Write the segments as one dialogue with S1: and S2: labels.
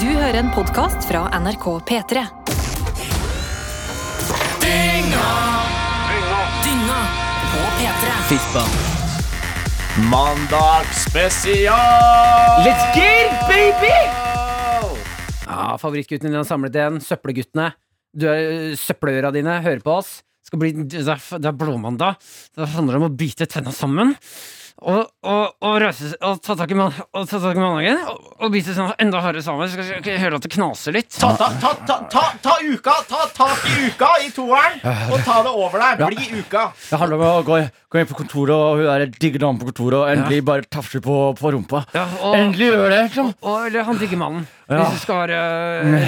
S1: Du hører en podkast fra NRK P3. Dynga på P3.
S2: Fistbump.
S3: Mandagsspesial!
S2: Let's get it, baby! Ja, favorittguttene dine har samlet igjen. Søppelguttene. Du er øh, Søppeløra dine hører på oss. Skal bli, det er f- det er blåmandag. Det handler om å bite tenna sammen. Og, og, og, reise, seg- og ta tak i, man- og ta tak i mandagen. Og, og bite tenna enda hardere sammen. Skal skal ikke høre at det knaser litt.
S3: Ta, ta, ta, ta, ta, ta uka! Ta tak i uka i toeren! Og ta det over deg! Bli uka!
S4: Det handler om å gå, gå inn på kontoret, og hun der digge damen på kontoret, og endelig bare tafse på, på rumpa.
S2: Ja, og,
S4: Endelig gjør det, liksom.
S2: og, eller han digger mannen.
S4: Ja.
S2: Hvis du skal være øh,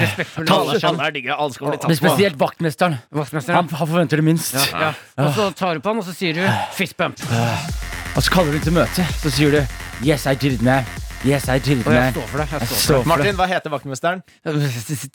S2: respektfull.
S3: Alle er digge. Alle skal
S4: Men
S3: sånn. bli tatt på.
S4: spesielt vaktmesteren. Han,
S2: Vaktmesteren.
S4: han forventer det minst.
S2: Ja. Og så tar du på han, og så sier du fist bump.
S4: Og så kaller hun til møte, så sier du Yes, I did it, man. Yes, I did it,
S2: Og jeg
S4: man.
S2: står for det. Jeg står for det.
S4: Så for det.
S3: Martin, hva heter vaktmesteren?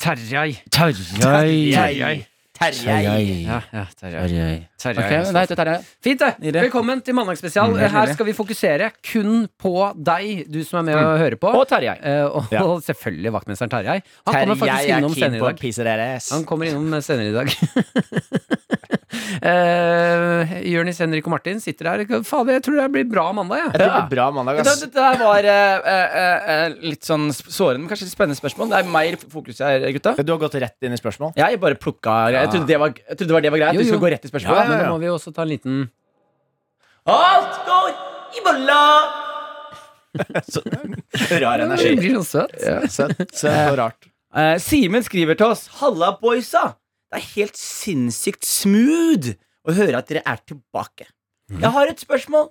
S2: Terjei.
S4: Terjei.
S2: Terjei.
S4: Terjei.
S2: Ja, ja, terjei.
S4: Terjei.
S2: Terjei,
S4: Ok,
S2: altså.
S4: men det heter Terjei.
S2: Fint, det.
S4: Nydelig.
S2: Velkommen til Mandagsspesial.
S4: Mm, helt
S2: Her
S4: nydelig.
S2: skal vi fokusere kun på deg, du som er med Mm. og hører på.
S4: Og Terjei.
S2: Eh, og
S3: Ja.
S2: og selvfølgelig vaktmesteren Terjei. Han kommer faktisk innom senere i dag.
S3: pisse deres.
S2: Han kommer innom eh, senere i dag. uh, Jørnis, Henrik og Martin sitter her. Fader, jeg tror det blir bra mandag, jeg.
S3: Jeg tror det blir bra mandag,
S5: Det,
S3: ass.
S5: det der var eh, eh, eh, litt sånn sp- sårende, men kanskje litt spennende spørsmål. Det er mer fokus her, gutta.
S3: Du har gått rett inn i spørsmål.
S5: Jeg bare plukka Jeg trodde det var, jeg trodde det, var, det var greit.
S2: Jo,
S5: Du
S2: jo.
S5: skal gå rett i
S2: Ja,
S5: spørsmålet.
S2: men nå må vi jo også ta en liten
S5: Alt går i bolla!
S3: Rar
S2: Det
S3: energi.
S2: blir sånn søt.
S3: Søtt søtt og rart.
S5: Eh, Simen skriver til oss. Halla, boysa! Det er helt sinnssykt smooth å høre at dere er tilbake. Jeg har et spørsmål.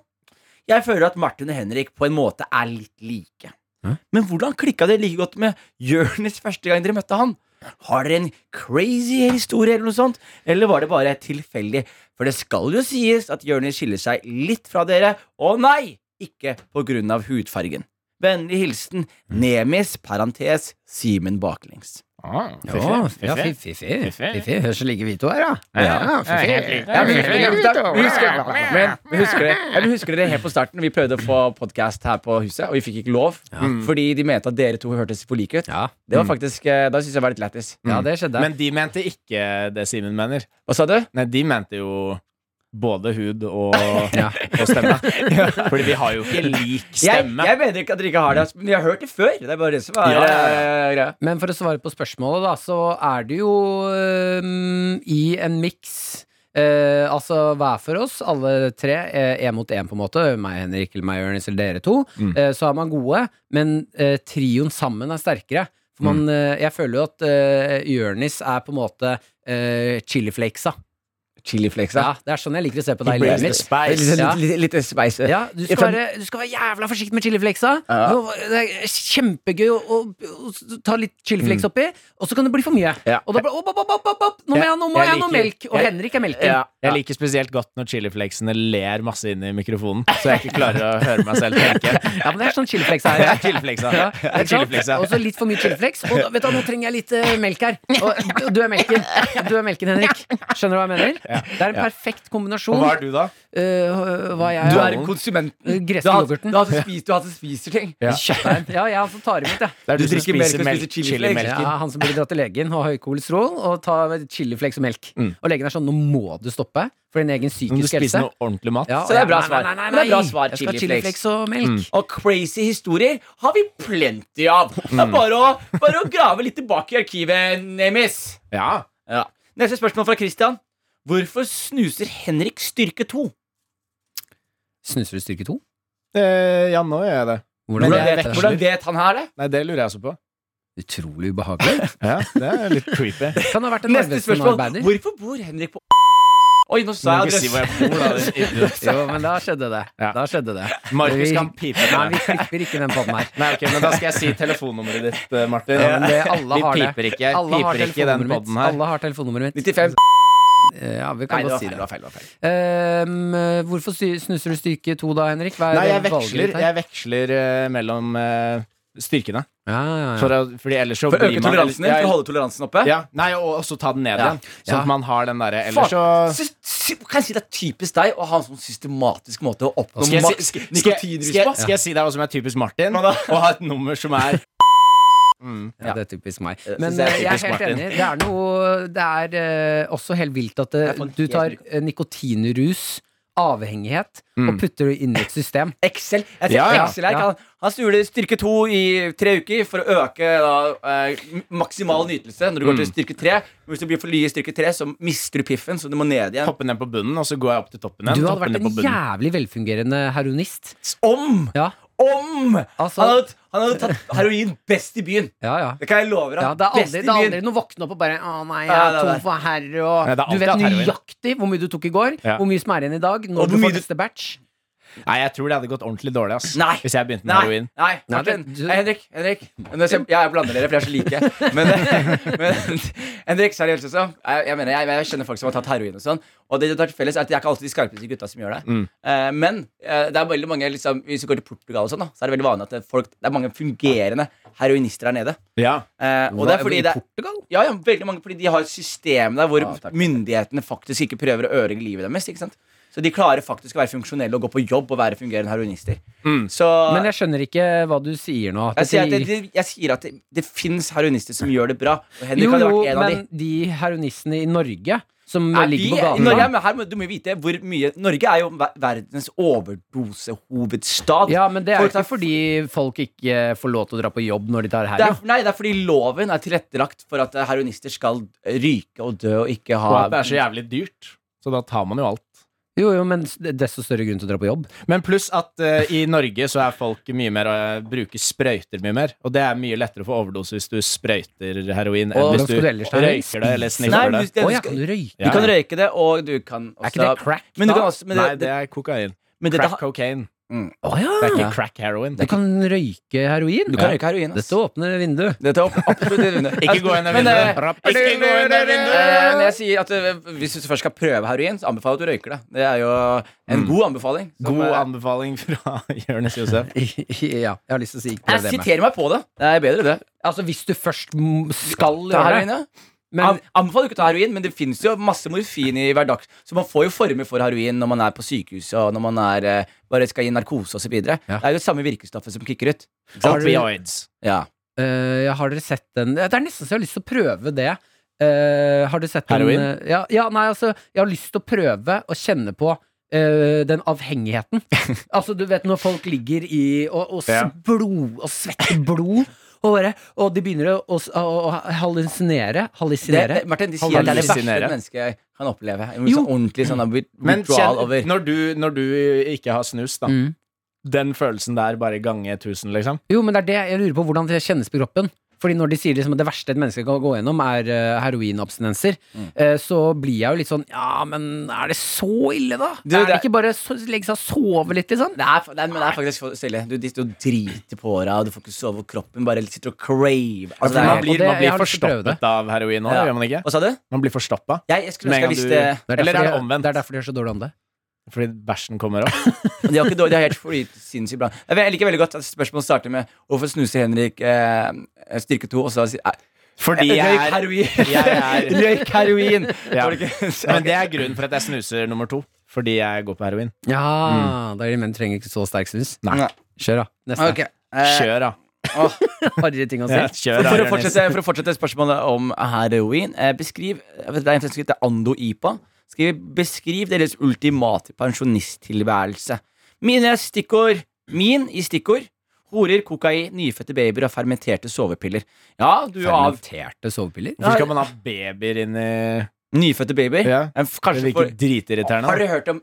S5: Jeg føler at Martin og Henrik på en måte er litt like.
S2: Hæ?
S5: Men hvordan klikka dere like godt med Jonis første gang dere møtte han? Har dere en crazy historie, eller noe sånt? Eller var det bare tilfeldig? For det skal jo sies at Jonis skiller seg litt fra dere. Å nei! Ikke på grunn av hudfargen. Vennlig hilsen Nemis, parentes, Simen baklengs.
S2: Ja, ja, fiffi. Fiffi. Høres så like vi to her, da. Ja, fiffi.
S5: Ja, vi husker, det, gutta. vi husker, men vi husker det. Jeg husker dere helt på starten. Vi prøvde å få podkast her på huset, og vi fikk ikke lov. Mm. Fordi de mente at dere to hørtes for like ut.
S2: Ja. Mm.
S5: Det var faktisk, eh, Da syns jeg det var litt lættis.
S2: Ja, det skjedde.
S3: Men de mente ikke det Simen mener.
S5: Hva sa du?
S3: Nei, de mente jo både hud og, og stemme. Fordi vi har jo ikke lik
S5: Jeg,
S3: stemme.
S5: jeg mener ikke at dere ikke har det, altså, men vi har hørt det før. Det er bare det som er
S3: Ja, ja,
S5: eh, greia.
S2: Men for å svare på spørsmålet, da, så er det jo øhm, i en miks eh, altså hver for oss, alle tre, én mot én på en måte, meg, Henrik, eller meg, Jonis, eller dere to,
S3: Mm.
S2: eh, så er man gode, men eh, trioen sammen er sterkere. For
S3: Mm.
S2: man, eh, jeg føler jo at uh, Jonis er på en måte eh, chiliflakesa.
S5: Chiliflexa.
S2: Ja, det er sånn jeg liker å se på deg i livet
S3: Embrace the
S2: mitt.
S3: spice.
S5: Litt,
S2: Ja.
S5: litt, litt spice.
S2: Ja, du skal, være, du skal være jævla forsiktig med chiliflaksa.
S5: Ja.
S2: Nå- Det er kjempegøy å, å, å ta litt chiliflaks oppi, og så kan det bli for mye.
S5: Ja.
S2: Og da blir det opp, opp, opp, opp, opp, opp. Nå må jeg, nå må
S3: Jeg
S2: jeg, ha noe
S3: liker-
S2: melk! Og
S3: jeg-
S2: Henrik er melken.
S5: Ja.
S3: Jeg liker spesielt godt når chiliflakesene ler masse inn i mikrofonen, så jeg ikke klarer å høre meg selv tenke.
S2: Ja, men det er sånn chiliflaksa
S3: Det er
S2: her.
S3: chiliflaksa.
S2: Ja,
S3: Det er chiliflaksa.
S2: Og så litt for mye chiliflaks. Og da, vet du, hva, nå trenger jeg litt eh, melk her. Og du er melken, Du er melken, Henrik. Skjønner du hva jeg mener? Det er en perfekt
S3: Og
S2: kombinasjon.
S3: hva er du, da?
S2: Eh, hva jeg
S5: Du
S2: er
S5: er konsumenten.
S2: Gresk
S5: Du har-
S2: yoghurten.
S5: Du har altså spist, du har altså spiser ting.
S3: Ja.
S2: Kjøttdeig. Ja, jeg altså tar imot, jeg.
S3: Det er
S5: Du
S3: du, som
S5: drikker melk
S3: spiser
S5: og
S3: melk,
S5: spiser chiliflakes.
S3: chilimelken.
S2: Ja, han som blir dratt til legen og har høy kolesterol, og tar chiliflakes og melk. Og legen er sånn 'nå må du stoppe', for din egen
S3: Om Mm. du
S2: psykiske
S3: spiser
S2: helse.
S3: noe ordentlig mat.
S2: Ja,
S5: Så det
S2: og
S5: er
S2: jeg-
S5: bra
S2: nei, Nei,
S5: svar.
S2: nei,
S5: Men det
S2: nei,
S5: er bra svar,
S2: Jeg skal ha
S5: chiliflakes.
S2: chiliflakes og melk.
S3: Mm.
S5: Og crazy historier har vi plenty av. Det er bare å, bare å grave litt tilbake i arkivet, Nemis.
S3: Ja.
S5: Ja. Neste spørsmål fra Christian. Hvorfor snuser Henrik styrke 2?
S2: Snuser du styrke to?
S3: Eh, ja, nå gjør jeg det.
S2: Hvordan
S5: Hvordan
S3: Men jeg
S2: det
S5: vet,
S2: er
S5: hvordan vet han her det?
S3: Nei, det lurer jeg også på.
S2: Utrolig ubehagelig.
S3: Ja, det er litt creepy.
S2: Kan ha vært en
S5: Neste spørsmål.
S2: Narvesen-arbeider.
S5: Hvorfor bor Henrik på Oi, nå
S3: Du
S5: sa
S3: må
S5: jeg
S3: ikke si hvor
S5: adresse.
S3: jeg bor, da. din idiot.
S2: Jo, men da skjedde det.
S3: Ja.
S2: Da skjedde det.
S3: Markus kan pipe
S2: Nei,
S3: på
S2: vi
S3: det.
S2: klipper ikke den podden her.
S3: Nei, ok, men da skal jeg si telefonnummeret ditt, eh, Martin.
S2: Ja, men det, alle
S3: vi
S2: har det.
S3: piper ikke,
S2: Alle har
S3: piper ikke i
S2: telefonnummeret
S3: den
S2: mitt.
S3: podden her.
S2: Alle har telefonnummeret mitt.
S5: 95
S2: Eh, Ja, vi
S5: Nei,
S2: kan godt
S5: det var
S2: si
S5: feil.
S2: det.
S5: Det var feil, det var feil.
S2: Ehm, eh, hvorfor sy- snuser du styrke to da, Henrik? Hva er
S3: Nei, jeg
S2: valget
S3: veksler,
S2: ditt her?
S3: jeg veksler eh, mellom eh, styrkene.
S2: Ja, ja, ja.
S3: For, å- fordi ellers så
S5: For å
S3: blir
S5: øke
S3: man
S5: toleransen din?
S3: Ja,
S5: For å holde toleransen oppe?
S3: Ja, nei, og også ta den ned
S5: Ja.
S3: igjen. Sånn
S2: Ja.
S3: at man har den derre
S5: Faen,
S3: Ellers så
S5: sy- sy- Kan jeg si det er typisk deg å ha en sånn systematisk måte å oppnå
S3: skal jeg, si,
S5: maks
S3: skal, skal,
S5: nikotinrus
S3: skal,
S5: på?
S3: skal jeg si deg hva som er typisk Martin?
S5: da?
S3: Å ha et nummer som er
S2: Ja, Det er typisk meg.
S5: synes
S2: Men
S5: jeg er
S2: eh, jeg er
S5: typisk
S2: helt
S5: Martin.
S2: enig. Det er noe Det er eh, også helt vilt at det,
S5: Jeg får en
S2: du
S5: helt
S2: tar
S5: ny-
S2: eh, nikotinrus, avhengighet,
S5: Mm.
S2: og putter det inn i et system.
S5: Excel. Jeg ser
S3: Ja, ja,
S5: Excel her.
S2: ja.
S5: Han, han stuler styrke to i tre uker for å øke da, eh, maksimal nytelse når du går til
S2: Mm.
S5: styrke tre. Men hvis du blir for ly i styrke tre, så mister du piffen, så du må ned igjen.
S3: Hoppe ned på bunnen, og så går jeg opp til toppen
S2: Du
S3: igjen.
S2: hadde
S3: Hoppe
S2: vært
S3: ned på
S2: en
S3: bunnen.
S2: jævlig velfungerende heroinist.
S5: Om!
S2: Ja,
S5: Om!
S2: altså
S5: Han hadde, han hadde tatt heroin best i byen.
S2: Ja, ja.
S5: Det kan jeg love deg.
S2: Ja, det er
S5: Best
S2: aldri,
S5: i
S2: det er
S5: byen.
S2: aldri noe våkne opp og bare 'Å nei, jeg
S5: Ja,
S2: er
S5: det er
S2: tom
S5: det.
S2: for herre', og
S3: Nei, det er
S2: Du vet
S3: alltid hatt heroin.
S2: nøyaktig hvor mye du tok i går,
S3: Ja.
S2: hvor mye som er igjen i dag,
S5: Og
S2: når du
S5: hvor mye
S2: får
S5: du-
S2: neste batch.
S3: Nei, jeg tror det hadde gått ordentlig dårlig ass.
S5: Nei.
S3: hvis jeg begynte med
S5: Nei,
S3: heroin.
S5: nei,
S2: Nei,
S5: Martin.
S2: det- du-
S5: Nei, Henrik. Henrik. Nå ser- Ja, jeg blander dere, for jeg er så like. Men, men Henrik, seriøst også. Jeg, jeg mener, jeg, jeg kjenner folk som har tatt heroin og sånn. Og det de tar til felles, er at de er ikke alltid de skarpeste gutta som gjør det.
S2: Mm.
S5: Eh, men eh, det er veldig mange liksom, hvis du går til Portugal og sånn, da, så er det veldig vanlig at det, er folk, det er mange fungerende heroinister der nede.
S3: Ja.
S5: Eh, og det er fordi
S2: I
S5: det er
S2: Portugal?
S5: ja, ja, veldig mange, fordi de har et system der hvor
S2: Ja, takk.
S5: myndighetene faktisk ikke prøver å ødelegge livet deres. ikke sant? Så de klarer faktisk å være funksjonelle og gå på jobb og være fungerende heroinister. Så
S2: Mm. Men jeg skjønner ikke hva du sier nå.
S5: jeg sier at, det,
S2: de-
S5: det, jeg sier at det, det finnes heroinister som gjør det bra. Og Henrik
S2: jo,
S5: hadde
S2: jo,
S5: vært en av de.
S2: men de heroinistene i Norge som
S5: Er vi-
S2: ligger på
S5: i Norge,
S2: gaten
S5: men her, må- du må jo vite hvor mye Norge er jo ver- verdens overdosehovedstad.
S2: Ja, men det er jo
S5: Folk tar
S2: ikke fordi folk ikke får lov til å dra på jobb når de tar
S5: det er,
S2: heroin.
S5: nei, det er fordi loven er tilrettelagt for at eh, heroinister skal ryke og dø og
S3: Og
S5: ikke ha
S3: at det er så jævlig dyrt. Så da tar man jo alt.
S2: Jo, jo, men s- desto større grunn til å dra på jobb.
S3: Men pluss at eh, i Norge så er folk mye mer eh, bruker sprøyter mye mer. Og det er mye lettere å få overdose hvis du sprøyter heroin enn
S2: Og
S3: hvis
S2: hvordan skal
S3: du
S2: du ellers ta heroin?
S3: røyker det eller
S5: Nei,
S3: sniffer det.
S5: du, det,
S2: Å
S5: du,
S2: ja,
S5: skal,
S2: kan du røyke?
S5: du kan røyke det, og du kan også
S2: Er ikke det crack,
S5: Men du
S2: da?
S5: kan også men det,
S3: Nei,
S5: det,
S3: det er kokain.
S5: men det,
S3: Crack
S5: det,
S3: cocaine.
S2: Å ja!
S3: Ah. Det er ikke crack heroin.
S2: Du kan røyke heroin?
S5: Du kan røyke heroin. ass.
S2: Dette åpner vinduet.
S5: Dette er opp- absolutt et vindu.
S3: Ikke gå inn i
S5: Men, eh,
S3: vinduet. Rapp. Ikke gå inn i vinduet!
S5: Eh, men jeg sier at eh, Hvis du først skal prøve heroin, så anbefaler jeg at du røyker det. Det er jo en god anbefaling.
S3: Mm.
S5: som,
S3: God
S5: eh,
S3: anbefaling fra Jonis Josef.
S2: ja, jeg har lyst til å si ikke prøv det
S5: jeg
S2: med.
S5: siterer meg på det. Det er bedre, det.
S2: Altså, hvis du først m- skal
S5: Ta
S2: gjøre
S5: heroin,
S2: det.
S5: ja.
S2: Men,
S5: An- Anbefaler ikke å ta heroin, men det finnes jo masse morfin i hverdags. Så man får jo former for heroin når man er på sykehuset og når man er, eh, bare skal gi narkose osv. videre
S2: Ja.
S5: Det er jo det samme virkestoffet som kicker ut.
S3: Opioids.
S5: Ja.
S2: eh, jeg har dere sett den Det er nesten så jeg har lyst til å prøve det. Eh, har dere sett
S3: Heroin?
S2: den eh, ja, ja, nei, altså, jeg har lyst til å prøve å kjenne på eh, den avhengigheten. altså, du vet når folk ligger i og, og, s-
S3: Ja.
S2: blod, og svetter blod, og, bare, og de begynner å, å, å hallusinere.
S5: Det,
S2: Hallusinere.
S5: det, Martin, de sier at det er det verste
S3: Hallusinere.
S5: et menneske kan oppleve. En
S2: Jo.
S5: sånn ordentlig sånn wit-
S3: Men
S5: withdrawal
S3: kjenn-
S5: over
S3: når, du, når du ikke har snus, da.
S2: Mm.
S3: Den følelsen der bare gange tusen, liksom.
S2: Jo, men det er det jeg lurer på hvordan det kjennes på kroppen. Fordi når de sier liksom at det verste et menneske kan gå gjennom, er eh, heroinabstinenser,
S5: Mm.
S2: eh, så blir jeg jo litt sånn Ja, men er det så ille, da?
S5: Du,
S2: er det
S5: det-
S2: ikke bare så, legge seg og sove litt, liksom?
S5: Det er, det er, men det er faktisk for stille. Du, du driter på håra, og du får ikke sove, og kroppen bare sitter og crave. Altså, det
S3: man
S5: er,
S2: og
S3: blir,
S2: det-
S3: man
S2: jeg
S3: blir
S2: har lyst til å prøve det.
S3: forstoppet av heroin òg,
S5: Ja.
S3: gjør man ikke?
S5: hva sa du?
S3: Man blir forstoppa.
S5: Jeg, jeg
S3: Med en
S5: skulle ønske jeg
S3: gang
S5: visste
S3: du- Eller er det
S2: de-
S3: omvendt?
S2: Det er derfor de er så dårlige om det.
S3: Fordi bæsjen kommer opp.
S5: De har ikke dårlig, de har helt flyt sinnssykt bra. Jeg vet- jeg liker veldig godt at spørsmålet starter med hvorfor snuser Henrik eh, styrke to, og så sier eh,
S3: Fordi
S5: Røyk
S3: jeg er,
S5: heroin!
S3: jeg er
S5: Røyk heroin!
S3: ja.
S5: Var det ikke-
S3: Men det er grunnen for at jeg snuser nummer to. Fordi jeg går på heroin.
S2: Ja, da er de menn trenger ikke så sterk snus.
S5: Mm. Nei.
S2: Kjør, da. Neste.
S5: Ok, eh,
S3: Kjør, da.
S5: åh.
S2: Harry ting å si.
S3: Ja, kjør,
S5: For,
S3: da,
S5: for, å
S3: Jonis.
S5: fortsette, for å fortsette spørsmålet om heroin eh, Beskriv jeg vet, Det er en som skriver det er Ando Ipa Skriv, Beskriv deres ultimate pensjonisttilværelse Mine stikkord Min i stikkord Horer, kokain, nyfødte babyer og fermenterte sovepiller Ja, du av
S2: Fermenterte sovepiller?
S3: Hvorfor skal man ha babyer inn i
S5: nyfødte babyer
S3: Ja.
S5: En f-
S3: Det
S5: Kanskje
S3: virker
S5: for Har
S3: dritirriterende.
S5: dere hørt om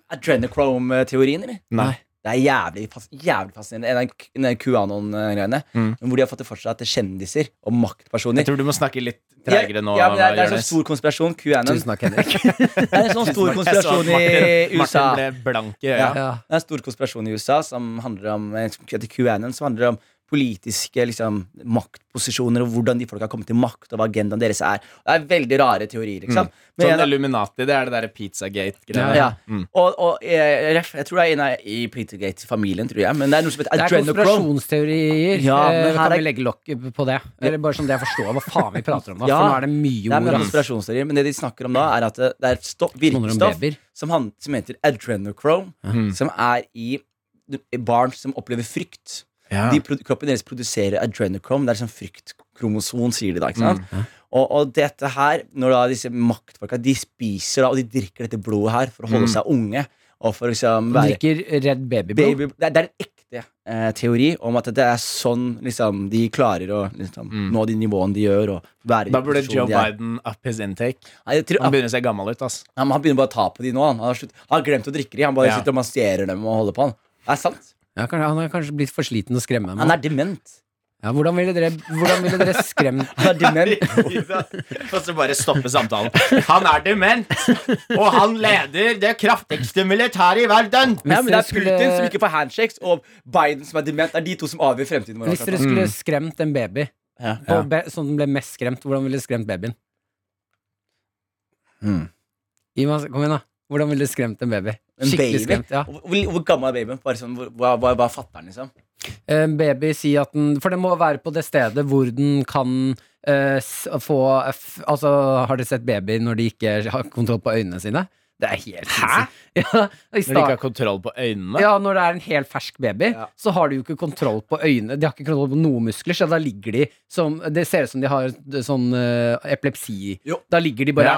S5: adrenochrome-teorien, eller?
S3: Nei.
S5: Det er jævlig, fas- jævlig fascinerende En av k- en av QAnon-greiene
S3: Mm.
S5: Hvor de har fått det fortsatt at kjendiser og maktpersoner
S3: Jeg tror du må snakke litt tregere nå,
S5: ja, men det, er, det er så
S3: Jonis.
S5: stor konspirasjon, QAnon
S2: Tusen takk, Henrik.
S5: Det er en sånn stor
S3: Jeg så at
S5: konspirasjon
S3: Martin-
S5: i USA.
S3: Martin ble blank i øya.
S2: ja.
S5: Det er en stor konspirasjon i USA som handler om eh, som heter QAnon, som handler om politiske liksom, maktposisjoner og hvordan de folk har kommet til makt, og hva agendaen deres er. Det er veldig rare teorier. ikke sant? Men
S3: Sånn
S5: en av-
S3: Illuminati, det er det derre Pizzagate-greiene.
S5: ja.
S3: Mm.
S5: Og, og eh, ref, jeg tror det er en av- i Petergate-familien, tror jeg. Men det er noe som heter
S2: Det er
S5: adrenochrome.
S2: konspirasjonsteorier.
S5: Ja,
S2: Eh,
S5: men her
S2: kan
S5: er-
S2: vi legge lokk på det? Eller bare sånn det jeg forstår hva faen vi prater om da.
S5: Ja.
S2: For nå er det mye
S5: Det er
S2: ord.
S5: med
S2: ass.
S5: konspirasjonsteorier, men det de snakker om da, er at det det er et stoff,
S2: Det handler om
S5: virkestoff
S2: babyer.
S5: som, han,
S3: Mhm.
S5: som heter adrenochrome, som er i i barn som opplever frykt.
S3: Ja.
S5: De produ- kroppen deres produserer adrenochrome. Det er sånn fryktkromoson, sier de da. ikke sant?
S3: Mhm.
S5: Og, og dette her, når da disse maktfolka De spiser da, og de drikker dette blodet her for
S3: Mhm.
S5: å holde seg unge. Og for å
S2: Han
S5: liksom være
S2: drikker Red Babyblod.
S5: Baby, det, er, det er en ekte eh, teori om at det er sånn liksom, de klarer å liksom, nå de nivåene de gjør. Og være i
S3: Mhm. Da burde
S5: posisjonen
S3: Joe
S5: de er.
S3: Biden up his intake.
S5: Nei, jeg tror,
S3: Han
S5: han,
S3: begynner å se gammel ut, ass.
S5: men han begynner bare å ta på de nå. Han Han har, slutt, han har glemt å drikke de. Han bare
S3: Ja.
S5: sitter og masserer dem og holder på. Han. Det er sant.
S2: Ja, kanskje, han har kanskje blitt for sliten til å skremme
S5: Han
S2: dem.
S5: er dement.
S2: Ja, hvordan ville dere, hvordan ville dere skremt
S5: Han er dement.
S3: Og så bare stoppe samtalen. Han er dement, og han leder det kraftigste militæret i verden.
S5: Ja, men det
S2: dere
S5: er
S2: skulle-
S5: Putin som ikke får handshakes, og Biden som er dement. Det er de to som avgjør fremtiden vår.
S2: Hvis
S5: altså.
S2: dere skulle skremt en baby,
S5: Ja.
S2: og be, sånn den ble mest skremt, hvordan ville dere skremt babyen?
S5: Mm.
S2: Gi meg- Kom igjen, da. Hvordan ville dere skremt en baby?
S5: En baby?
S2: Skikkelig skremt, ja.
S5: Hvor, hvor- hvor gammel er babyen? Bare sånn, hvor, hva, hva, hva fatter han, liksom?
S2: En baby sier at den For den må være på det stedet hvor den kan eh, s- få f, Altså, har dere sett babyer når de ikke har kontroll på øynene sine? Det er helt Hæ? Ja, i
S3: Når de ikke
S2: start,
S3: har kontroll på øynene.
S2: ja, når det er en helt fersk baby,
S5: Ja.
S2: så har de jo ikke kontroll på øynene. De har ikke kontroll på noen muskler, så da ligger de som Det ser ut som de har d- sånn eh, epilepsi.
S5: Jo.
S2: Da ligger de bare Ja,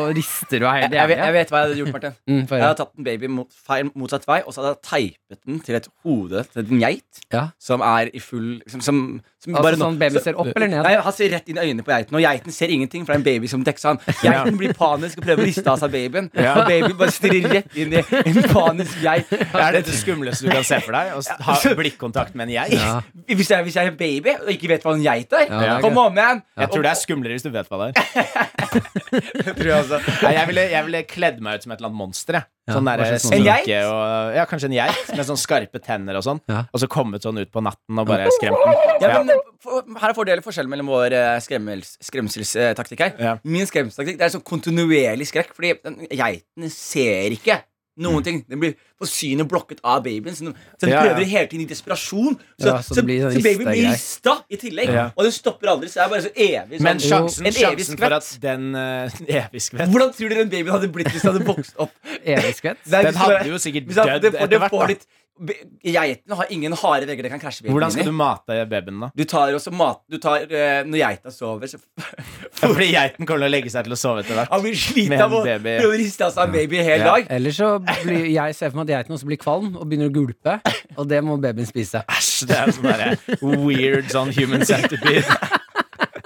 S2: og rister og er helt
S5: Jeg vet, jeg
S2: jævlig.
S5: vet hva jeg hadde gjort, Martin.
S2: Mm, for-
S5: Jeg hadde tatt en baby mot, feil, motsatt vei, og så hadde jeg teipet den til et hode til en geit
S2: Ja.
S5: som er i full liksom, Som, som
S2: Altså
S5: bare nå-
S2: sånn baby
S5: så-
S2: ser opp eller ned?
S5: Nei, Han ser rett inn i øynene på geiten, og geiten ser ingenting, for det er en baby som dekker han. Geiten blir panisk og prøver å riste av seg babyen,
S3: Ja.
S5: og babyen bare stirrer rett inn i en panisk geit.
S3: Det er det skumleste du kan se for deg. Å ha blikkontakt med en geit.
S2: Ja.
S5: Hvis jeg, hvis jeg er en baby og ikke vet hva en geit er,
S2: Ja, det er
S5: come
S2: greit.
S5: on, man!
S3: Jeg tror det er skumlere hvis du vet hva det er. Nei, jeg, ville, jeg ville kledd meg ut som et eller annet monster. jeg.
S2: Ja,
S3: Sånn
S2: hva
S3: der,
S2: slags monster?
S5: En
S3: sminke
S5: geit?
S3: og Ja, kanskje en geit med sånn skarpe tenner og sånn.
S2: Ja.
S3: Og så kommet sånn ut på natten og bare skremt den.
S5: Ja, men, for, her er fordelen forskjellen mellom vår eh, skremmels- skremselstaktikk her.
S3: Ja.
S5: Min skremselstaktikk det er sånn kontinuerlig skrekk, fordi den, geiten ser ikke noen ting. Den blir på synet blokket av babyen, så den, så den
S3: Mm. Ja, ja.
S5: prøver hele tiden i desperasjon. Så,
S2: Ja, så det blir sånn
S5: babyen blir
S2: ristegreier.
S5: rista i tillegg,
S3: Ja.
S5: og den stopper aldri. Så det er bare så evig sånn
S3: Men sjansen,
S5: en evig
S3: sjansen
S5: skvett.
S3: for at den eh, evig skvett
S5: Hvordan tror dere den babyen hadde blitt hvis den hadde vokst opp?
S2: Evig skvett.
S5: Det er
S3: Den
S5: hvis
S3: hadde
S5: det-
S3: jo sikkert
S5: hvis den-
S3: dødd
S5: det får- det
S3: etter hvert,
S5: får
S3: da.
S5: litt- be- Geitene har ingen harde vegger det kan krasje babyen
S3: Hvordan
S5: inn i.
S3: skal du mate babyen, da?
S5: Du tar også mat du tar, eh, Når geita sover, så
S3: Fordi geiten kommer til å legge seg til å sove etter hvert.
S5: Han blir sliten
S3: Med en
S5: av å
S3: baby.
S5: prøve å riste av seg en baby
S3: Ja.
S5: hele dag.
S2: Eller så blir jeg ser for meg at geiten også blir kvalm og begynner å gulpe, og det må babyen spise.
S3: Æsj, det er jo sånn derre weird sånn human centipede.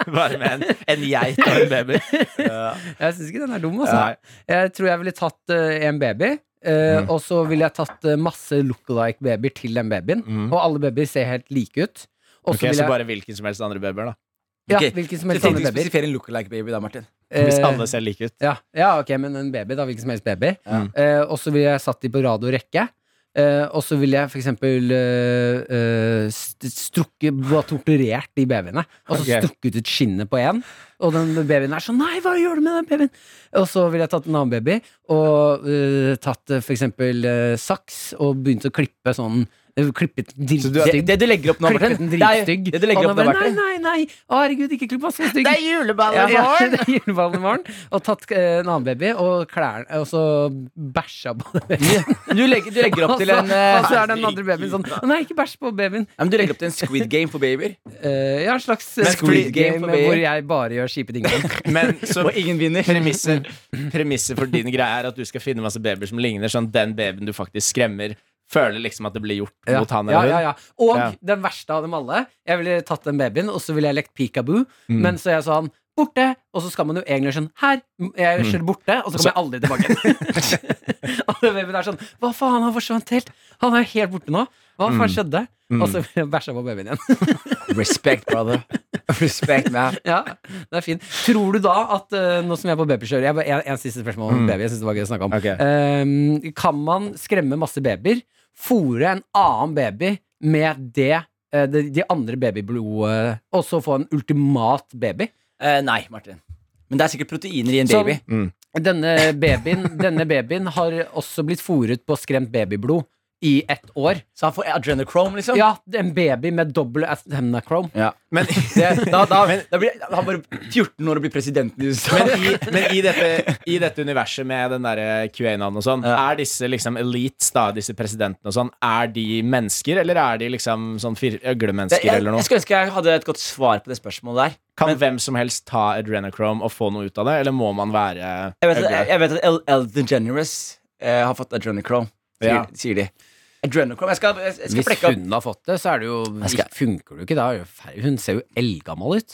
S3: Bare med en, en geit og en baby.
S2: Jeg syns ikke den er dum, altså. Jeg tror jeg ville tatt eh, en baby. eh,
S5: Mm.
S2: Og så ville jeg tatt eh, masse look-alike-babyer til den babyen.
S5: Mm.
S2: Og alle babyer ser helt like ut. Og
S3: Ok,
S2: så vil
S3: Så
S2: jeg
S3: bare hvilken som helst andre babyer, da.
S2: ja,
S5: Ok,
S2: hvilken som
S5: Så
S2: helst
S5: fint
S2: andre
S5: å
S2: babyer.
S5: spesifisere en lookalike baby da, Martin.
S3: Hvis
S2: Eh,
S3: alle ser like ut. Mm.
S2: ja, ja, ok, men en baby, da. Hvilken som helst baby.
S5: Ja.
S2: Eh, og så ville jeg satt de på rad og rekke. Eh, og så ville jeg for eksempel eh, eh, st- strukket Bare torturert de babyene. Og så
S3: Ok.
S2: strukket ut skinnet på én. Og den babyen er sånn Nei, hva gjør du med den babyen? Og så ville jeg tatt en annen baby og eh, tatt eh, for eksempel eh, saks og begynt å klippe sånn eh, Klippet den
S5: Så du, det,
S2: dritstygg.
S5: det du legger opp nå, Martin
S2: Klippet den dritstygg.
S5: Det, er- det du legger
S2: og
S5: opp nå,
S2: bare, nei,
S5: Martin
S2: nei, nei! Å, herregud, ikke klipp meg så stygg!
S3: juleballer
S2: Ja, ja, det er juleballen i morgen. Og tatt eh, en annen baby og, klær, og så bæsja på den babyen.
S5: du legger, du legger opp til en
S2: Og så- og
S5: eh,
S2: så er den andre babyen sånn «Å Nei, ikke bæsj på babyen.
S5: ja, men Du legger opp til en Squid Game for babyer,
S2: Eh, ja, en slags eh,
S5: Men
S2: Squid
S5: Squid Game
S2: Game
S5: for babyer.
S2: hvor jeg bare gjør kjipe ting.
S3: Men så
S5: og ingen vinner.
S3: premisset, premisset for din greie er at du skal finne masse babyer som ligner, sånn at den babyen du faktisk skremmer, føler liksom at det blir gjort
S2: Ja,
S3: mot han
S2: ja,
S3: eller hun.
S2: ja, ja. Og
S3: Ja.
S2: den verste av dem alle. Jeg ville tatt den babyen, og så ville jeg lekt peekaboo.
S3: Mm.
S2: Men så jeg sa han borte, og så skal man jo egentlig sånn her. Jeg
S3: Mm.
S2: skjønner borte, og så kommer jeg aldri tilbake. og den babyen er sånn Hva faen, han forsvant helt. Han er jo helt borte nå. Hva
S3: Mm.
S2: faen skjedde? Og så bæsja på babyen igjen.
S5: Respect, brother. Respect, man.
S2: ja, det er fint. Tror du da at eh, Nå som jeg er på babykjør jeg bare- en, en siste spørsmål om baby. Jeg synes det var gøy å snakke om
S3: Ok.
S2: Eh, Kan man skremme masse babyer, fòre en annen baby med det eh, de, de andre babyblodet, og så få en ultimat baby?
S5: Eh, nei, Martin. Men det er sikkert proteiner i en
S3: Sånn.
S5: baby.
S2: Denne babyen, denne babyen har også blitt fòret på skremt babyblod. i ett år.
S5: Så han får adrenochrome, liksom?
S2: Ja, en baby med dobbel asthenachrome.
S5: Ja.
S3: Men,
S5: Det, da, da, da blir han bare 14 år og blir presidenten i USA.
S3: men, i, men i, dette, i dette universet med den derre QA-navnet og sånn, er disse liksom elites, da, disse presidentene og sånn, er de mennesker, eller er de liksom sånn fir-
S5: jeg,
S3: øglemennesker
S5: jeg,
S3: eller noe?
S5: jeg skulle ønske jeg hadde et godt svar på det spørsmålet der.
S3: Kan hvem som helst ta adrenochrome og få noe ut av det, eller må man være
S5: Jeg vet, at-
S3: øgle?
S5: jeg, jeg vet at El- Elden Generous eh, har fått adrenochrome, sier,
S3: Ja.
S5: sier de. Adrenochrome. Jeg skal, jeg, jeg skal
S2: Hvis
S5: flekke opp
S2: hunden har fått det, så er det jo,
S5: Jeg skal-
S2: funker det jo ikke da. er det jo feil. Hun ser jo eldgammel ut.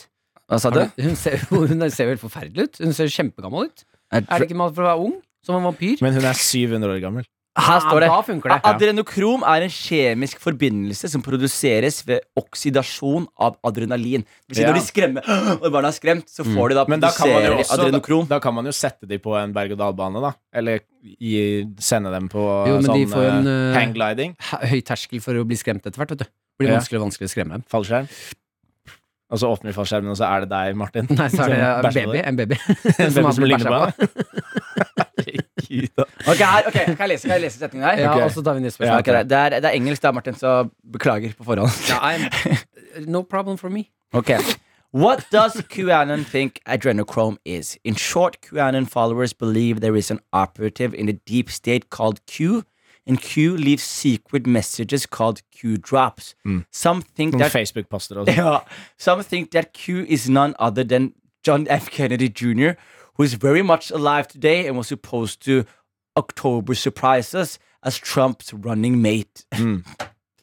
S5: Hva sa du?
S2: Har du- Hun ser, hun ser jo helt forferdelig ut. Hun ser kjempegammel ut. Er det ikke man for å være ung? Som en vampyr?
S3: Men hun er 700 år gammel.
S5: Her står det.
S2: Da funker det.
S5: Adrenokrom er en kjemisk forbindelse som produseres ved oksidasjon av adrenalin. Det vil si
S3: Ja.
S5: Når de skremmer, og barna er skremt, så får de da
S3: Men da kan, man jo
S5: produserer de
S3: også, da,
S5: adrenokrom.
S3: da kan man jo sette de på en berg-og-dal-bane, da. Eller gi, sende dem på
S2: Jo, men de
S3: sånn
S2: får jo en,
S3: eh,
S2: eh,
S3: hanggliding.
S2: He- Høy terskel for å bli skremt etter hvert. vet du Blir
S3: Ja.
S2: vanskeligere og vanskeligere å skremme dem.
S3: Fallskjerm. Og så åpner vi fallskjermen, og så er det deg, Martin.
S2: Nei, så er det
S3: Som
S2: en
S3: bæsjer på
S2: baby.
S3: deg.
S2: En baby
S3: En
S2: som
S3: baby
S2: har
S3: som
S2: blitt
S3: ligner
S2: bæsja
S3: på
S2: på.
S3: deg. Herregud, da.
S5: Ok, her, ok, Kan jeg lese, kan jeg lese setningen her?
S2: Ja,
S3: Ok.
S2: og så tar vi neste
S5: Ja, ok,
S2: spørsmål.
S5: det, er, det er engelsk, da, Martin, så beklager på forhånd.
S2: Ja, I'm- no problem for me.
S5: Ok. What does QAnon think adrenochrome is? In short, QAnon followers believe there is an operative in the deep state called Q, and Q leaves secret messages called Q drops. Some think
S3: Noen
S5: that
S3: Facebook-poster og sånn.
S5: yeah, some think that Q is none other than John F. Kennedy Jr., who is very much alive today and was supposed to October surprise us as Trump's running mate.
S2: Jeg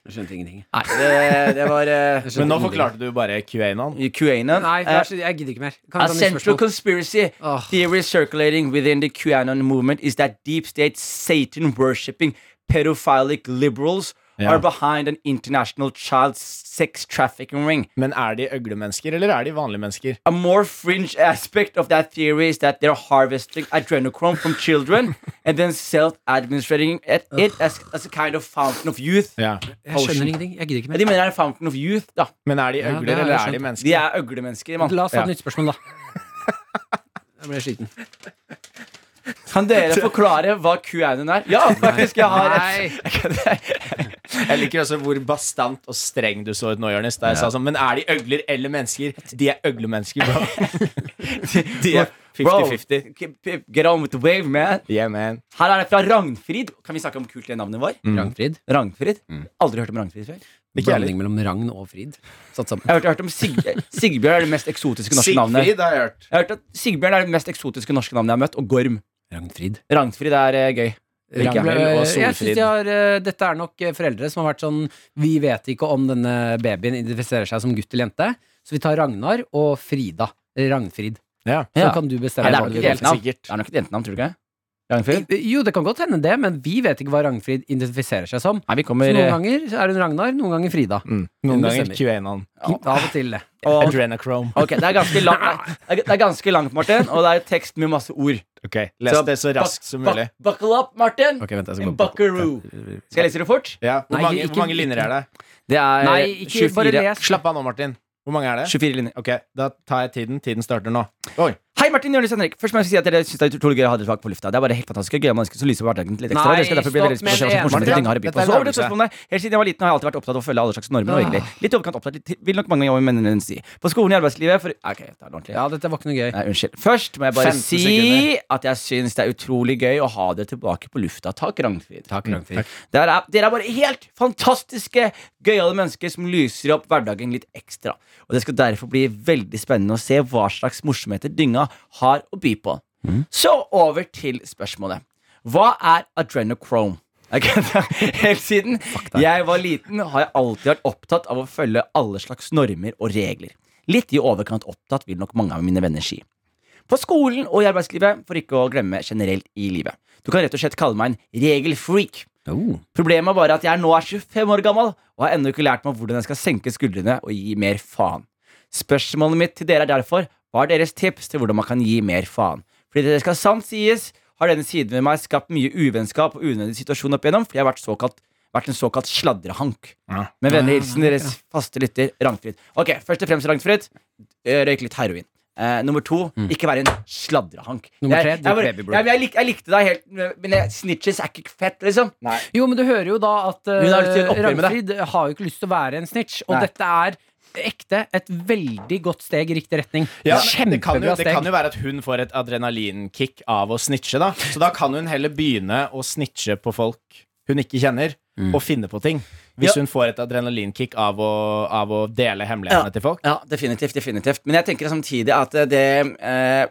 S2: skjønte ingenting.
S5: det, det var eh,
S3: Men nå forklarte du bare QA-en.
S5: QAnon.
S2: Nei,
S5: Eh,
S2: Lars, jeg gidder ikke mer. Kan
S5: A
S2: vi ta nytt
S5: central
S2: spørsmål?
S5: conspiracy
S2: Ugh.
S5: theory circulating within the QAnon movement is that deep state Satan worshipping pedophilic liberals
S3: Yeah.
S5: are behind an international child sex trafficking ring.
S3: Men er de øglemennesker, eller er de vanlige mennesker?
S5: A more fringe aspect of that theory is that they're harvesting adrenochrome from children and then self administrating it, it as, as a kind of fountain of youth.
S3: Ja.
S2: Jeg
S3: Oh,
S2: skjønner ingenting. Jeg gidder ikke
S5: Men de
S2: mer.
S5: mener det er en fountain of youth, da.
S3: Men er de
S2: Ja, det
S3: øgler,
S2: har jeg
S3: eller er de
S2: skjønt.
S5: De
S3: mennesker?
S5: er øglemennesker, mann.
S2: La oss ta
S3: Ja.
S2: et nytt spørsmål, da. Jeg ble sliten.
S5: Kan dere forklare hva QAnon er? Ja, faktisk. Jeg har et.
S3: Jeg liker også hvor bastant og streng du så ut nå, Jonis. Da jeg sa sånn Men er de øgler eller mennesker? De er øglemennesker, bro. De er
S5: Bro,
S3: 50-50.
S5: k- p- Get on with the wave, man.
S3: Yeah, man.
S5: Her er det fra Ragnfrid. Kan vi snakke om kult det navnet var?
S2: Rangfrid.
S5: Ragnfrid? Aldri hørt om Ragnfrid før.
S3: Ikke jeg
S5: Jeg
S3: Mm. heller.
S2: Blanding mellom Ragn og Frid. Satt sammen.
S5: har hørt, jeg har hørt om Sig Sigbjørn er det mest eksotiske norske navnet.
S3: Sigfrid har jeg hørt.
S5: Jeg har hørt at Sigbjørn er det mest eksotiske norske navnet jeg har møtt, og Gorm.
S2: Ragnfrid.
S5: Ragnfrid er eh, gøy. Liker
S3: Ragnfrid.
S5: jeg.
S3: Ragnhild og
S2: Jeg synes
S3: Solfrid.
S2: de har, eh, Dette er nok eh, foreldre som har vært sånn Vi vet ikke om denne babyen identifiserer seg som gutt eller jente, så vi tar Ragnar og Frida. Eller Ragnfrid.
S3: Ja.
S2: Så
S5: Ja.
S2: kan du bestemme.
S5: Nei, det er
S2: hva
S5: nok
S2: du
S5: ikke
S2: vil
S5: helt navn.
S3: sikkert.
S5: Det er nok et jentenavn, tror du ikke? Ragnfrid?
S2: kalle- Jo, det kan godt hende det, men vi vet ikke hva Ragnfrid identifiserer seg som.
S5: Nei, vi
S2: Så
S5: kommer
S2: noen
S5: eh,
S2: ganger så er hun Ragnar, noen ganger Frida.
S3: Mm. Noen ganger
S2: bestemmer.
S3: QA-en.
S2: Av og til. det.
S5: og,
S3: Adrenochrome.
S5: Ok, det er, ganske langt, det er- det er ganske langt, Martin, og det er tekst med masse ord.
S3: Ok, Les det så raskt som mulig.
S5: Buck- Buckle up, Martin!
S3: Ok, vent, jeg
S5: En
S3: skal bare
S5: buckaroo. Skal jeg lese det fort?
S3: ja. Hvor,
S2: Nei,
S3: mange,
S2: ikke-
S3: hvor mange linjer er det?
S5: Det er
S2: Nei, ikke bare
S5: 24
S2: les.
S3: Slapp av nå, Martin. Hvor mange er det?
S5: 24 linjer.
S3: Ok, Da tar jeg tiden. Tiden starter nå. Oi.
S5: Hei, Martin Jørnes Henrik. Først må jeg si at dere synes det er utrolig gøy å ha dere fag på lufta. Det er bare helt fantastisk gøy. Man ønsker så lyse opp hverdagen litt ekstra.
S2: Nei,
S5: Dere skal derfor bli
S2: stopp
S5: veldig
S2: med
S5: spesielt
S2: det.
S5: morsomme
S3: Martin,
S5: ting å harde by
S3: dette
S5: på.
S3: er
S5: Så over til
S3: nærmelse.
S5: spørsmålet. Helt siden jeg var liten, har jeg alltid vært opptatt av å følge alle slags normer og regler. Litt i overkant opptatt, litt, vil nok mange av mine menn si. På skolen i arbeidslivet for Ok, det er ordentlig.
S2: Ja, dette var ikke noe gøy.
S5: Nei, unnskyld. Først må jeg bare
S3: 15
S5: si
S3: sekunder.
S5: at jeg syns det er utrolig gøy å ha dere tilbake på lufta. Takk, Ragnfrid.
S2: Mm, Takk, Ragnfrid.
S5: Dere er, dere er bare helt fantastiske, gøyale mennesker som lyser opp hverdagen litt ekstra. Og Det skal derfor bli veldig spennende å se hva slags morsomheter dynga har å by på. Så over til spørsmålet. Hva er adrenochrome? Ok, Helt siden jeg var liten, har jeg alltid vært opptatt av å følge alle slags normer og regler. Litt i overkant opptatt vil nok mange av mine venner si på skolen og i arbeidslivet, for ikke å glemme generelt i livet. Du kan rett og slett kalle meg en regelfreak.
S2: Oh.
S5: Problemet er bare at jeg nå er 25 år gammel og har ennå ikke lært meg hvordan jeg skal senke skuldrene og gi mer faen. Spørsmålet mitt til dere er derfor hva er deres tips til hvordan man kan gi mer faen? Fordi det skal sant sies, har denne siden ved meg skapt mye uvennskap og unødvendige situasjoner opp igjennom, for jeg har vært, såkalt, vært en såkalt sladrehank.
S3: Ja.
S5: Med vennlig hilsen deres faste lytter Ragnfrid. Ok, først og fremst Ragnfrid, eh, røyk litt heroin. Eh, nummer to, ikke være en sladrehank.
S2: Mm. Nummer tre,
S5: jeg,
S2: drikk
S5: jeg, bare-
S2: Baby Blue.
S5: jeg, jeg, lik, jeg likte deg helt, men jeg, snitches er ikke fett, liksom.
S2: Jo, men du hører jo da at eh,
S5: Hun har lyst til å oppgjøre med
S2: Ragnfrid har jo ikke lyst til å være en snitch, og
S5: Nei.
S2: dette er ekte et veldig godt steg i riktig retning.
S3: Ja, men det, kan jo,
S2: Kjempebra
S3: det kan
S2: steg.
S3: jo være at hun får et adrenalinkick av å snitche, da. Så da kan hun heller begynne å snitche på folk hun ikke kjenner,
S2: Mm.
S3: og finne på ting. Hvis hun får et adrenalinkick av å, av å dele hemmelighetene
S5: Ja.
S3: til folk.
S5: Ja, definitivt, definitivt. Men jeg tenker samtidig at eh, det eh,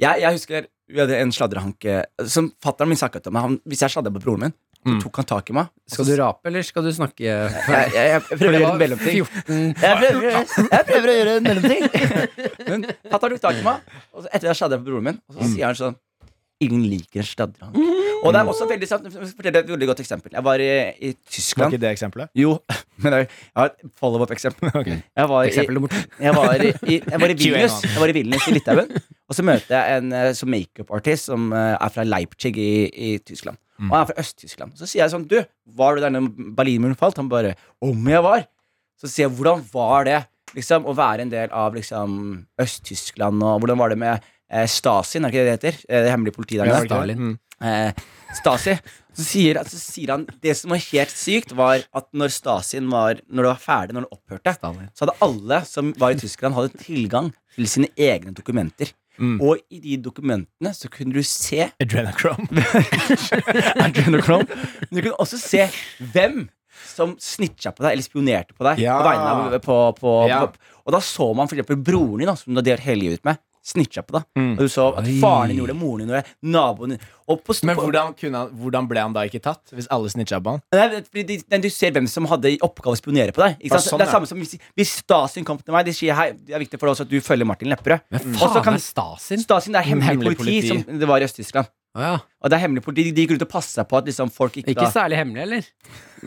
S5: jeg, jeg husker vi hadde en sladrehank eh, som fatter'n min snakket om. Han, hvis jeg sladra på broren min, så tok han tak i meg. og så-
S2: Mm. Skal du rape, eller skal du snakke?
S5: Jeg, jeg, jeg prøver å gjøre en mellomting.
S2: 14
S5: Jeg prøver, jeg prøver å gjøre en mellomting. Men fatter'n tok tak i meg, og så etter jeg sladra på broren min, og
S2: Mm.
S5: så sier han sånn Ingen liker en sladrehank. Og det er også veldig sant. Jeg skal fortelle et veldig godt eksempel. Jeg var i, i
S3: Var
S5: Tyskland.
S3: ikke det eksempelet?
S5: Jo, men jeg jeg har et follow-up-eksempel. Jeg var i,
S2: Eksempel nummer to.
S5: jeg var i, i, jeg var i Vilnius,
S3: QAnon.
S5: jeg var i, Vilnius i Litauen, og så møter jeg en eh, som makeup-artist som eh, er fra Leipzig i, i Tyskland. Og han er fra Øst-Tyskland. Så sier jeg sånn Du, var du der når Berlinmuren falt? Han bare Om jeg var? Så sier jeg Hvordan var det liksom, å være en del av liksom, Øst-Tyskland, og hvordan var det med eh, Stasi, er det ikke det det heter? Eh, Det hemmelige politiet der
S3: Ja,
S5: nede?
S3: var det
S2: Stalin.
S3: ikke det? Mm.
S5: eh, Stasi. Så sier, så sier han Det som var helt sykt, var at når Stasien var Når det var ferdig, når det opphørte,
S2: Stalin.
S5: så hadde alle som var i Tyskland, hadde tilgang til sine egne dokumenter.
S3: Mm.
S5: Og i de dokumentene så kunne du se
S3: Adrenochrome.
S5: Adrenochrome, men du kunne også se hvem som snitcha på deg eller spionerte på deg.
S3: Ja.
S5: På vegne av, på, på,
S3: Ja.
S5: på, og da så man for eksempel broren din, da, som du har delt hele livet med, snitcha på deg.
S3: Mm.
S5: Og du så at
S2: Oi.
S5: faren din gjorde det, moren din gjorde det, naboen din og på,
S3: Men
S5: på-
S3: hvordan, kunne han, hvordan ble han da ikke tatt, hvis alle snitcha på han?
S5: Nei, det- fordi de, nei, du ser hvem som hadde i oppgave å spionere på deg. Ikke
S3: Ja,
S5: sant?
S3: sånn,
S5: det er
S3: ja.
S5: samme som hvis, hvis Stasin kom til meg De sier hei, det er viktig for oss at du følger Martin Lepperød.
S2: Men
S5: Og så
S2: faen
S5: kan-
S2: er Stasin?
S5: Stasin det er hemmelig,
S3: Hemmelig
S5: politi,
S3: politi.
S5: som det var i Øst-Tyskland.
S2: Å ja.
S5: Og det er hemmelig politi, De de gikk rundt og passa på at liksom folk ikke,
S2: Ikke
S5: da,
S2: særlig hemmelig, eller?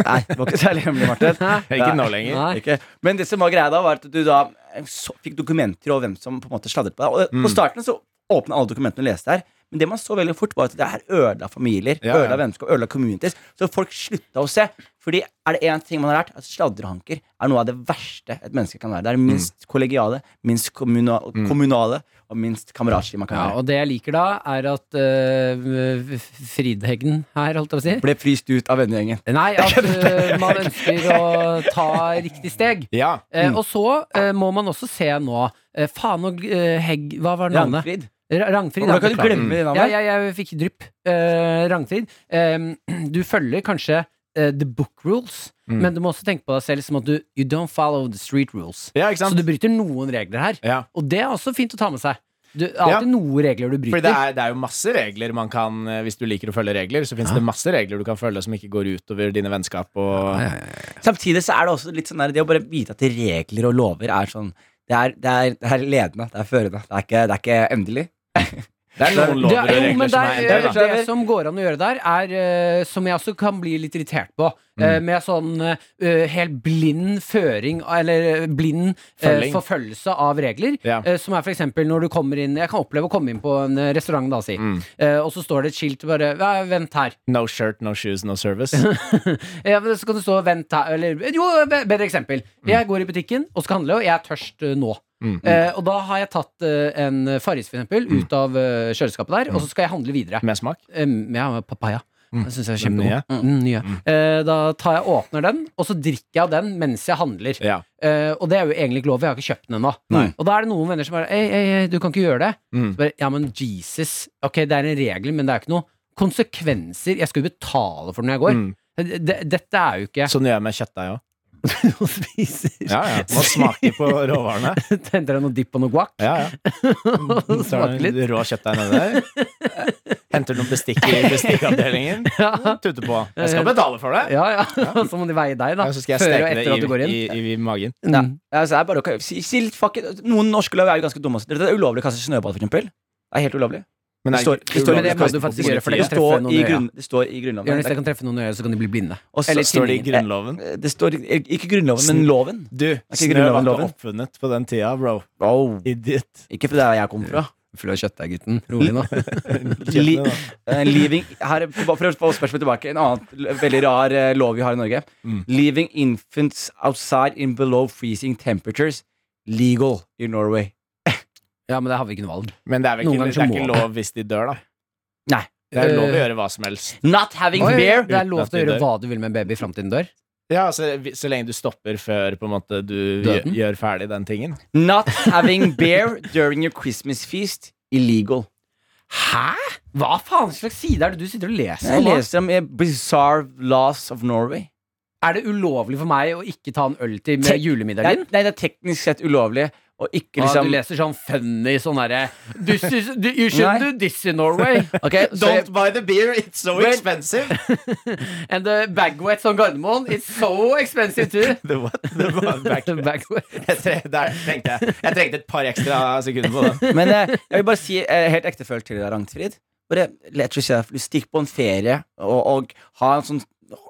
S5: Nei, det var ikke særlig hemmelig, Martin.
S2: Hæ?
S3: Ikke nå lenger.
S2: Nei.
S5: Ikke. Men det som var greia da, var at du da eh, så, fikk dokumenter over hvem som på en måte sladret på deg. Og eh,
S2: Mm.
S5: På starten så åpna alle dokumentene og leste her. Men det man så veldig fort, var at det her ødela familier,
S3: Ja, ja.
S5: ødela vennskap, ødela communities. Så folk slutta å se. Fordi er det én ting man har lært, at sladrehanker er noe av det verste et menneske kan være. Det er
S2: Mm.
S5: minst kollegiale, minst kommuna kommunale og minst kameratslig man kan
S2: Ja,
S5: være.
S2: og det jeg liker da, er at øh, Fridheggen her, holdt jeg på å si
S5: Ble fryst ut av vennegjengen.
S2: Nei, at øh, man ønsker å ta riktig steg.
S3: Ja.
S2: Eh, Og så eh, må man også se nå eh, Faen og eh, Hegg Hva var navnet?
S5: Ragnfrid.
S2: Ra- Rangfrid.
S5: Hvordan kan du
S2: ja, beklager.
S5: glemme det
S2: Ja,
S5: navnet?
S2: ja, jeg fikk drypp. Eh, Rangfrid, eh, du følger kanskje eh, the book rules,
S3: Mm.
S2: men du må også tenke på deg selv som at du you don't follow the street rules.
S3: ja, ikke
S2: Så du
S3: sant?
S2: bryter noen regler her,
S3: Ja.
S2: og det er også fint å ta med seg. Du, det er alltid noen regler du
S3: Fordi det
S2: bryter.
S3: er, det er jo masse regler man kan eh, Hvis du liker å følge regler, så fins det masse regler du kan følge som ikke går utover dine vennskap og
S5: Samtidig så er det også litt sånn der, det å bare vite at regler og lover er sånn Det er, det er, det er ledende, det er førende. Det er ikke, det er ikke endelig.
S3: Det er
S2: Det
S3: noen lover
S2: er,
S3: og
S2: jo, men det,
S3: regler som er
S2: er,
S3: endret, da.
S2: det som går an å gjøre der, er eh, som jeg også kan bli litt irritert på.
S3: Mm.
S2: eh, med sånn eh, helt blind føring, eller eh, blind eh,
S3: Følging.
S2: forfølgelse av regler.
S3: Ja.
S2: eh, som er for eksempel når du kommer inn Jeg kan oppleve å komme inn på en eh, restaurant, da, si.
S3: Mm.
S2: Eh, og så står det et skilt bare «Ja, 'Vent her'.
S3: No shirt, no shoes, no service.
S2: Ja, men så kan det stå 'vent her', eller Jo, be- bedre eksempel.
S3: Mm.
S2: Jeg går i butikken og skal handle, og jeg er tørst eh, nå. Eh, og da har jeg tatt eh, en Farris, for eksempel,
S3: Mm.
S2: ut av eh, kjøleskapet der, og så skal jeg handle videre.
S3: Med smak.
S2: Um, ja, med papaya. Det syns jeg er
S3: Mm. Den Mm.
S2: kjempegod. Mm, Den nye. Eh, da tar jeg åpner den, og så drikker jeg av den mens jeg handler.
S3: Ja.
S2: Eh, og det er jo egentlig ikke lov, for jeg har ikke kjøpt den ennå. Og da er det noen venner som bare Ei, ei, ei, du kan ikke gjøre det.
S3: Mm.
S2: Så bare, ja, men Jesus. Ok, det er en regel, men det er ikke noe konsekvenser. Jeg skal jo betale for den når jeg går.
S3: Mm.
S2: D- d- Dette er jo ikke
S3: Sånn gjør jeg med kjøttdeig òg.
S2: noe å spise.
S3: Ja, ja. Man smaker på råvarene.
S2: Henter deg noe dipp og noe guac.
S3: Ja, ja. Mm, Tar
S2: Smaker
S3: du
S2: litt.
S3: rå kjøttdeig nedi der. Henter noen bestikk i bestikkavdelingen. Tuter på. Jeg skal betale for det.
S2: Ja, ja. Så må de veie deg, da.
S3: Ja, så skal jeg
S2: Før og
S3: steke
S2: etter at du går
S3: det i,
S2: inn.
S3: i, i, i magen.
S5: Ja.
S2: Mm.
S5: Altså, det er bare, å- si, si litt fuck it. Noen norske lov er jo ganske dumme. også. Det er ulovlig å kaste snøball, for eksempel. Det er helt ulovlig.
S3: Men
S5: Det står- det står-
S2: Men det må du faktisk gjøre, for det
S5: Det
S2: kan treffe
S5: står
S2: noen
S5: i,
S2: i øya.
S5: grunn, det står i Grunnloven.
S2: Jonis, jeg kan treffe noen i øyet, så kan de bli blinde.
S5: Og så-
S3: Eller
S5: står
S3: står det i
S5: i grunn-
S3: Grunnloven?
S5: eh, det står i- ikke Grunnloven, men loven.
S3: Du,
S5: ikke
S3: snø var
S5: Grunnloven
S3: ikke
S5: loven?
S3: oppfunnet på den tida, bro. Idiot.
S5: Ikke fra der jeg kommer fra.
S2: Full av kjøttdeig, gutten. Rolig nå.
S5: Li, eh, leaving, her, for, for å spørsmålet tilbake En annen l- veldig rar eh, lov vi har i Norge. Leaving infants outside in below freezing temperatures legal in Norway.
S2: Ja, men det har vi ikke noe valg.
S3: Men det er vel
S2: Noen
S3: ikke,
S2: ganger
S3: det
S2: så
S3: er
S2: må
S3: ikke
S2: man.
S3: lov hvis de dør, da.
S5: Nei.
S3: Det er lov å
S2: Eh,
S3: gjøre hva som helst.
S5: Not having
S2: Oi,
S5: beer.
S2: det er
S3: uten
S2: lov
S3: at
S2: til å
S3: de
S2: gjøre
S3: dør.
S2: hva du vil med en baby fram til den dør.
S3: Ja, så, så lenge du stopper før på en måte, du gjør,
S2: Døden?
S3: gjør ferdig den tingen.
S5: Not having beer during your Christmas feast. Illegal.
S2: Hæ?! Hva faen slags side er det du sitter og leser?
S5: Jeg
S2: nå?
S5: leser om eh, Bizarre Laws of Norway.
S2: Er det ulovlig for meg å ikke ta en øl til med
S5: Tenk- Nei,
S2: julemiddagen?
S5: nei, det er teknisk sett ulovlig. Og ikke
S2: Ah,
S5: liksom
S2: du leser sånn funny sånn derre "This is- You should do this in Norway.
S5: Ok, så jeg,
S3: buy the beer, it's so
S2: Vel-
S3: expensive!
S2: And the bagwets on Gardermoen is so expensive too.
S3: The what? The one back.
S2: Bagwet.
S3: Jeg tre- Der tenkte jeg Jeg trengte et par ekstra sekunder på den.
S5: Men eh, jeg vil bare si eh, helt ektefølt til deg, Ragnfrid. Bare let yourself Du Stikk på en ferie og, og ha en sånn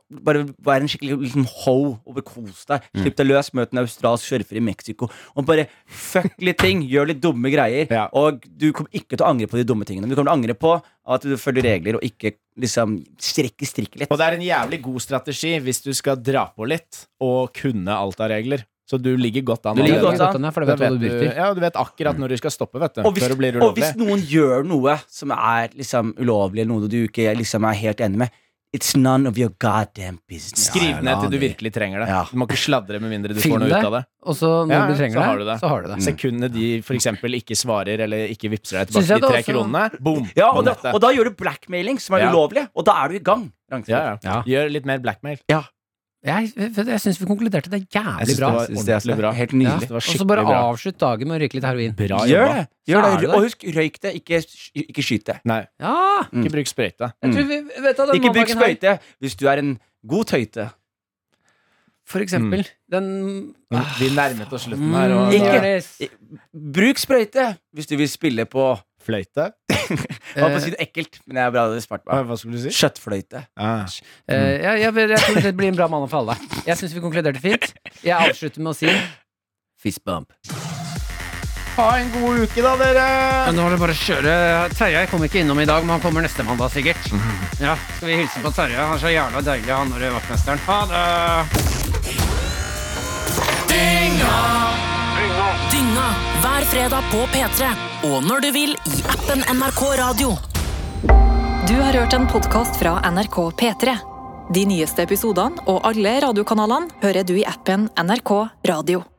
S5: bare være en skikkelig liksom, ho og bekos deg.
S3: Mm.
S5: Slipp deg løs, møt en australsk surfer i Mexico. Og bare fuck litt ting. Gjør litt dumme greier.
S3: Ja.
S5: Og du kommer ikke til å angre på de dumme tingene. Du kommer til å angre på at du følger regler og ikke liksom strekker strikken litt.
S3: Og det er en jævlig god strategi hvis du skal dra på litt og kunne alt av regregler. Så du ligger godt an.
S5: Du ligger
S3: allerede.
S5: godt an.
S2: for
S3: Da
S2: det vet hva du driter.
S3: ja, du vet akkurat når du skal stoppe, vet du.
S5: Og hvis,
S3: før det blir
S5: og hvis
S3: ulovlig.
S5: noen gjør noe som er liksom ulovlig, eller noe du ikke liksom er helt enig med, it's none of your goddamn business.
S3: Skriv ned til du virkelig trenger det.
S5: Ja.
S3: Du må ikke sladre med mindre du
S2: Finn
S3: får noe
S2: det.
S3: ut av det.
S2: Og så når
S3: Ja, ja,
S2: du trenger
S3: så
S2: det,
S3: har du det.
S2: så har du det.
S3: Sekundene de for eksempel ikke svarer eller ikke vippser deg
S2: Synes
S3: tilbake
S2: jeg
S3: de
S2: det
S3: tre
S2: også-
S3: kronene, boom! på
S5: Ja, og da,
S3: nettet.
S5: og da gjør du blackmailing, som er
S3: Ja.
S5: ulovlig, og da er du i gang. Ragnhild.
S3: ja, ja.
S2: Ja.
S3: Gjør litt mer blackmail.
S2: Jeg, jeg syns vi konkluderte det jævlig
S3: synes
S2: bra.
S3: det var ordentlig bra.
S5: Helt
S2: Ja.
S5: nydelig.
S3: det var
S2: Og så
S3: skikkelig
S2: bare
S3: bra.
S2: avslutt dagen med å røyke litt heroin.
S3: Bra
S5: Gjør
S3: jobba.
S5: det. Gjør
S2: Så er
S5: det.
S2: det.
S5: Og husk, røyk det, ikke, sky- ikke skyt det.
S3: Nei,
S2: Ja!
S3: ikke bruk sprøyte.
S2: Jeg tror vi, vet du, hva, den
S5: Ikke bruk
S2: mandagen her,
S5: sprøyte hvis du er en god tøyte.
S2: For eksempel.
S3: Mm.
S2: Den
S3: Vi nærmet oss slutten her.
S2: Mm,
S3: Og
S5: Ikke-
S3: da,
S2: Jonis.
S5: Bruk sprøyte hvis du vil spille på
S3: fløyte?
S5: Jeg
S3: Eh.
S5: holdt på å si noe ekkelt, men det er bra det er smart.
S3: Hva
S5: Bra.
S3: hva skulle du si?
S5: Kjøttfløyte.
S3: Ah.
S2: Eh, jeg, jeg, jeg tror det blir en bra mandag for alle. Jeg syns vi konkluderte fint. Jeg avslutter med å si fist bump.
S3: Ha en god uke, da, dere!
S2: nå er det bare å kjøre. Terje kom ikke innom i dag, men han kommer neste mandag sikkert. Ja, Skal vi hilse på Terje? Han er så jævla deilig, han når vaktmesteren. Ha det!
S1: Dynga hver fredag på P3. Og når du vil i appen NRK Radio. Du har hørt en podkast fra NRK P3. De nyeste episodene og alle radiokanalene hører du i appen NRK Radio.